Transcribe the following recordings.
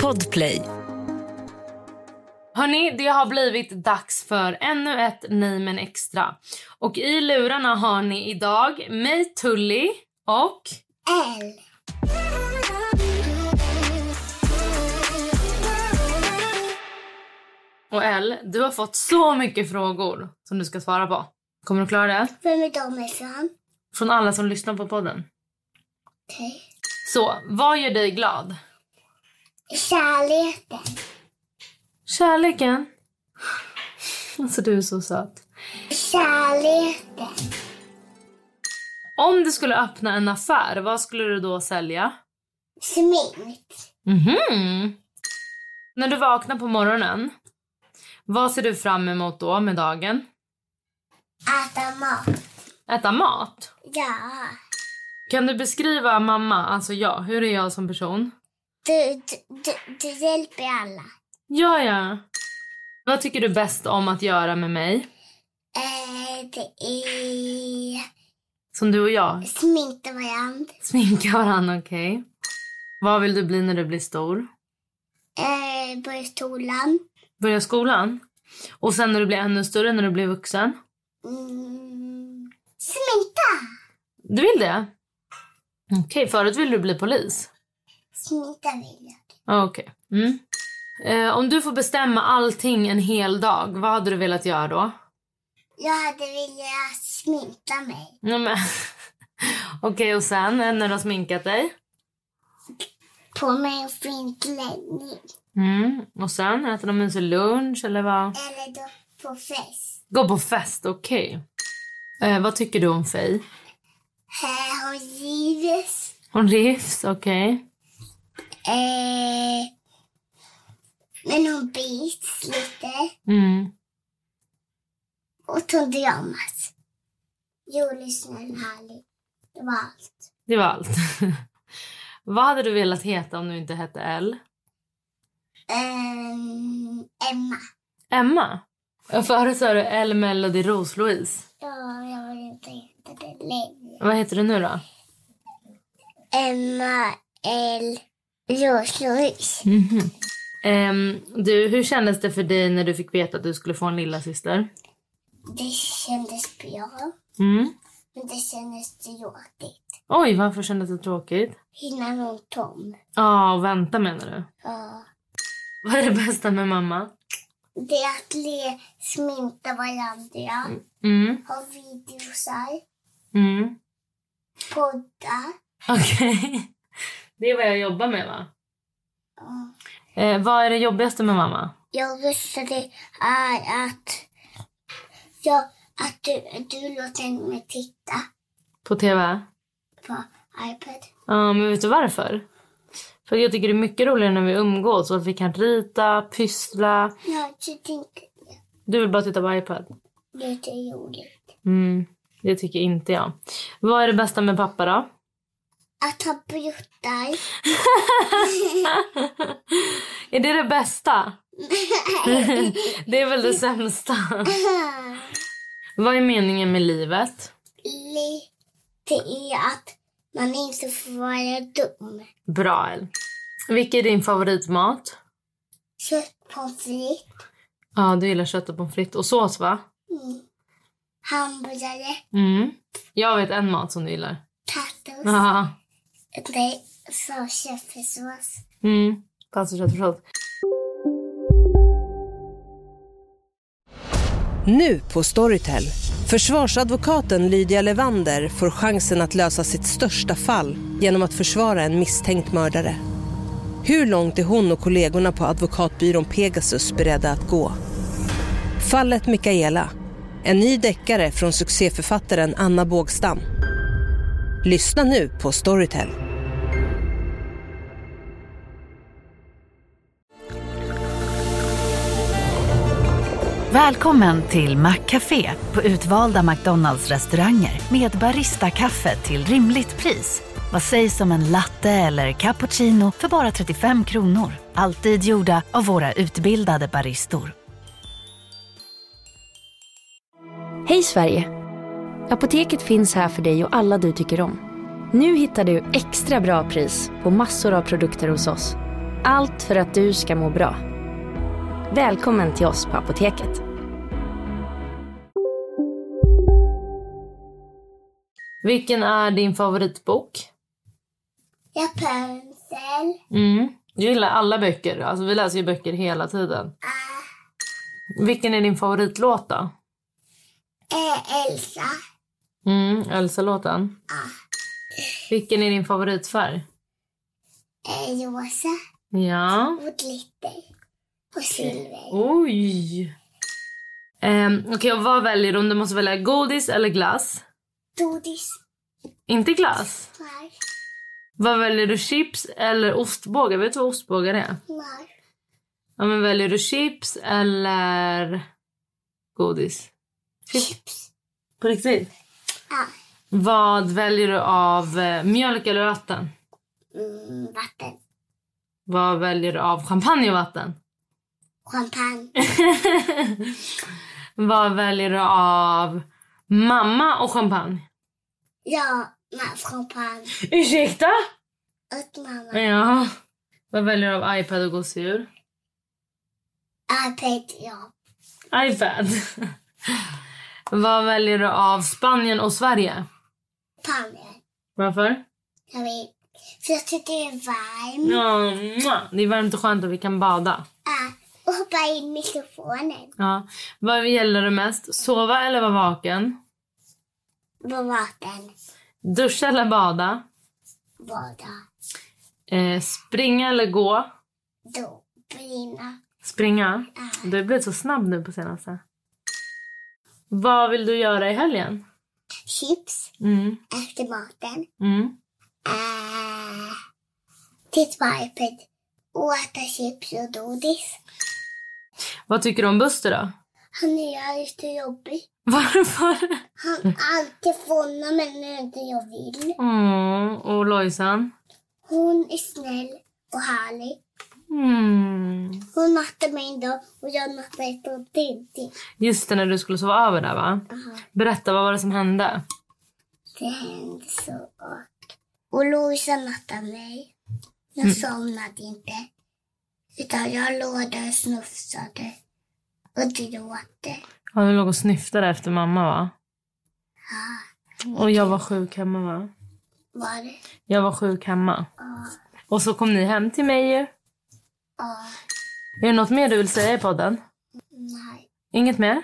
Podplay. Hörni, det har blivit dags för ännu ett Nej men extra. Och i lurarna har ni idag mig, Tully och... L. Och L, du har fått så mycket frågor som du ska svara på. Kommer du klara det? Vem är de ifrån? Från alla som lyssnar på podden. Okej. Så, vad gör dig glad? Kärleken. Kärleken. Alltså du är så söt. Kärleken. Om du skulle öppna en affär, vad skulle du då sälja? Smink. Mhm. När du vaknar på morgonen, vad ser du fram emot då med dagen? Äta mat. Äta mat? Ja. Kan du beskriva mamma, alltså jag, hur är jag som person? Du, du, du, du hjälper alla. Ja, ja. Vad tycker du bäst om att göra med mig? Eh, det är Som du och jag, sminka varandra. sminka varandra, okej? Vad vill du bli när du blir stor? Eh, börja i skolan. Börja skolan? Och sen när du blir ännu större, när du blir vuxen? Mm. Sminka. Du vill det? Okej, förut ville du bli polis. Sminka vill jag. Ah, Okej. Mm. Eh, om du får bestämma allting en hel dag, vad hade du velat göra då? Jag hade velat sminka mig. Nej, men- Okej, och sen eh, när du har sminkat dig? På mig en fin klänning. Mm. Och sen äter de mysig lunch eller vad? Eller då på fest. Gå på fest, okej. Eh, vad tycker du om Faye? Eh, hon gives. Hon rivs, okej. Eh, men hon bits lite Mm. och hon dramas. Julie snäll härlig. Det var allt. Det var allt. vad hade du velat heta om du inte hette L? Ehm, Emma. Emma? Eh, Förut sa du L Melody Rose-Louise. Ja, jag vill inte heta det längre. Vad heter du nu då? Emma L. Roslös. Mhm. Ehm, du, hur kändes det för dig när du fick veta att du skulle få en lilla syster? Det kändes bra, Mm. men det kändes tråkigt. Oj, varför kändes det tråkigt? Innan hon kom. Ja, och vänta menar du? Ja. Vad är det bästa med mamma? Det är att le, sminka varandra, Mm, ha videosar, mm, podda. okej. Det är vad jag jobbar med va? Ja. Eh, vad är det jobbigaste med mamma? Jag röstade är att, jag, att du, du låter mig titta På TV? på iPad. Ja, men vet du varför? För jag tycker det är mycket roligare när vi umgås och att vi kan rita, pyssla. Jag tycker Du vill bara titta på iPad? det är lite roligt. Mm, det tycker inte jag. Vad är det bästa med pappa då? Att ha bruttar. Är det det bästa? det är väl det sämsta. Vad är meningen med livet? Li- Det är att man inte får vara dum. Bra, El. Vilken är din favoritmat? Köttpommes frites, Ja, du gillar kött och pommes frites. Och sås, va? hamburgare, Mm. Jag vet en mat som du gillar. tacos. Haha. Nej, så köttfärssås. mm. Pasta, kött och sås. Nu på Storytel. Försvarsadvokaten Lydia Levander får chansen att lösa sitt största fall genom att försvara en misstänkt mördare. Hur långt är hon och kollegorna på advokatbyrån Pegasus beredda att gå? Fallet Mikaela. En ny deckare från succéförfattaren Anna Bågstam. Lyssna nu på Storytel. Välkommen till Maccafé på utvalda McDonalds restauranger med Baristakaffe till rimligt pris. Vad sägs om en latte eller cappuccino för bara 35 kronor? Alltid gjorda av våra utbildade baristor. Hej Sverige! Apoteket finns här för dig och alla du tycker om. Nu hittar du extra bra pris på massor av produkter hos oss. Allt för att du ska må bra. Välkommen till oss på Apoteket. Vilken är din favoritbok? Rapunzel. Mm. Du gillar alla böcker. Alltså, vi läser ju böcker hela tiden. Vilken är din favoritlåt då? Eh, Elsa. Mm, Ah. Elsa-låten. Vilken är din favoritfärg? Eh, rosa. Ja. Och glitter. Och silver. Oj! Um, Okej, och vad väljer du om du måste välja godis eller glass? Godis. Inte glass. Smör. Vad väljer du? Chips eller ostbågar? Vet du vad ostbågar är? Smör. Ja, men väljer du chips eller godis? Chips. På riktigt? Ja. Vad väljer du av eh, mjölk eller vatten? Mm, vatten. Vad väljer du av champagne och vatten? Champagne. Vad väljer du av mamma och champagne? Ja, ma- champagne. Ursäkta? Åt mamma. Ja. Vad väljer du av iPad och gosedjur? IPad, ja. iPad. Vad väljer du av Spanien och Sverige? Palmen. Varför? Jag vet. För jag tycker det är varmt. Ja, mwah. det är varmt och skönt och vi kan bada. Ja. Och hoppa in i mikrofonen. Ja. Vad gäller det mest? Sova eller vara vaken? På vatten. Duscha eller bada? Bada. Eh, springa eller gå? Då. Brinna. Springa? Du har blivit så snabb nu på senaste. Vad vill du göra i helgen? Chips. Mm. Efter maten. Mm. Äh, titta på iPad. Och äta chips och godis. Vad tycker du om Buster då? Han är lite jobbig. Varför? Han alltid fångar mig när inte jag vill. Mm. Och Lojsan? Hon är snäll och härlig. Mm. Hon nattar mig en dag och jag nattar på Tintin. Just det, när du skulle sova över där va? Berätta, vad var det som hände? Det hände så. Och Louisa nattade mig. Jag somnade inte. Utan jag låg där och snufsade. Och gråter. Ja, du låg och snyftade efter mamma va? Och jag var sjuk hemma va? Var det? Jag var sjuk hemma. Och så kom ni hem till mig ju. Ja. Är det något mer du vill säga i podden? Nej. Inget mer?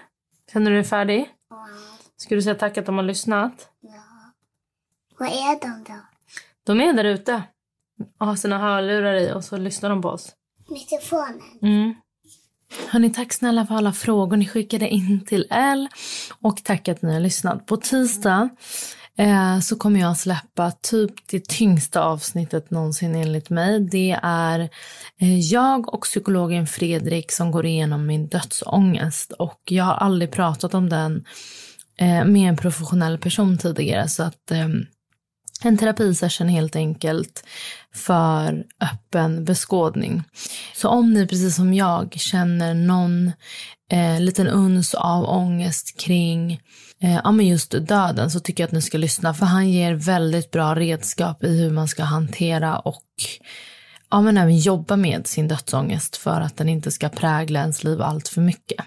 Känner du dig färdig? Ja. Ska du säga tack att de har lyssnat? ja. Vad är de då? De är där ute och har sina hörlurar i och så lyssnar de på oss. Mikrofonen. Mm. Hörni, tack snälla för alla frågor ni skickade in till L. Och tack att ni har lyssnat. På tisdag eh, så kommer jag släppa typ det tyngsta avsnittet någonsin enligt mig. Det är eh, jag och psykologen Fredrik som går igenom min dödsångest. Och jag har aldrig pratat om den eh, med en professionell person tidigare. Så att... ehm, en terapisession helt enkelt för öppen beskådning. Så om ni precis som jag känner någon eh, liten uns av ångest kring eh, ja, men just döden så tycker jag att ni ska lyssna för han ger väldigt bra redskap i hur man ska hantera och ja, men även jobba med sin dödsångest för att den inte ska prägla ens liv allt för mycket.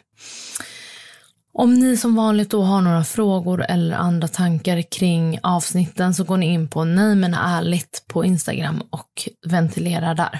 Om ni som vanligt då har några frågor eller andra tankar kring avsnitten så går ni in på Nej men ärligt på Instagram och ventilerar där.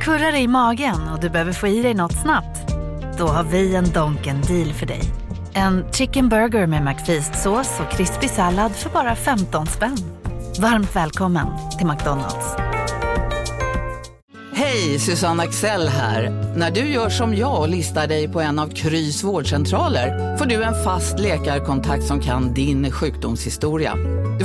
Kurrar i magen och du behöver få i dig något snabbt? Då har vi en Donken deal för dig. En chicken burger med McFeast-sås och krispig sallad för bara 15 spänn. Varmt välkommen till McDonalds. Hej, Susanne Axel här. När du gör som jag och listar dig på en av Krys vårdcentraler får du en fast läkarkontakt som kan din sjukdomshistoria. Du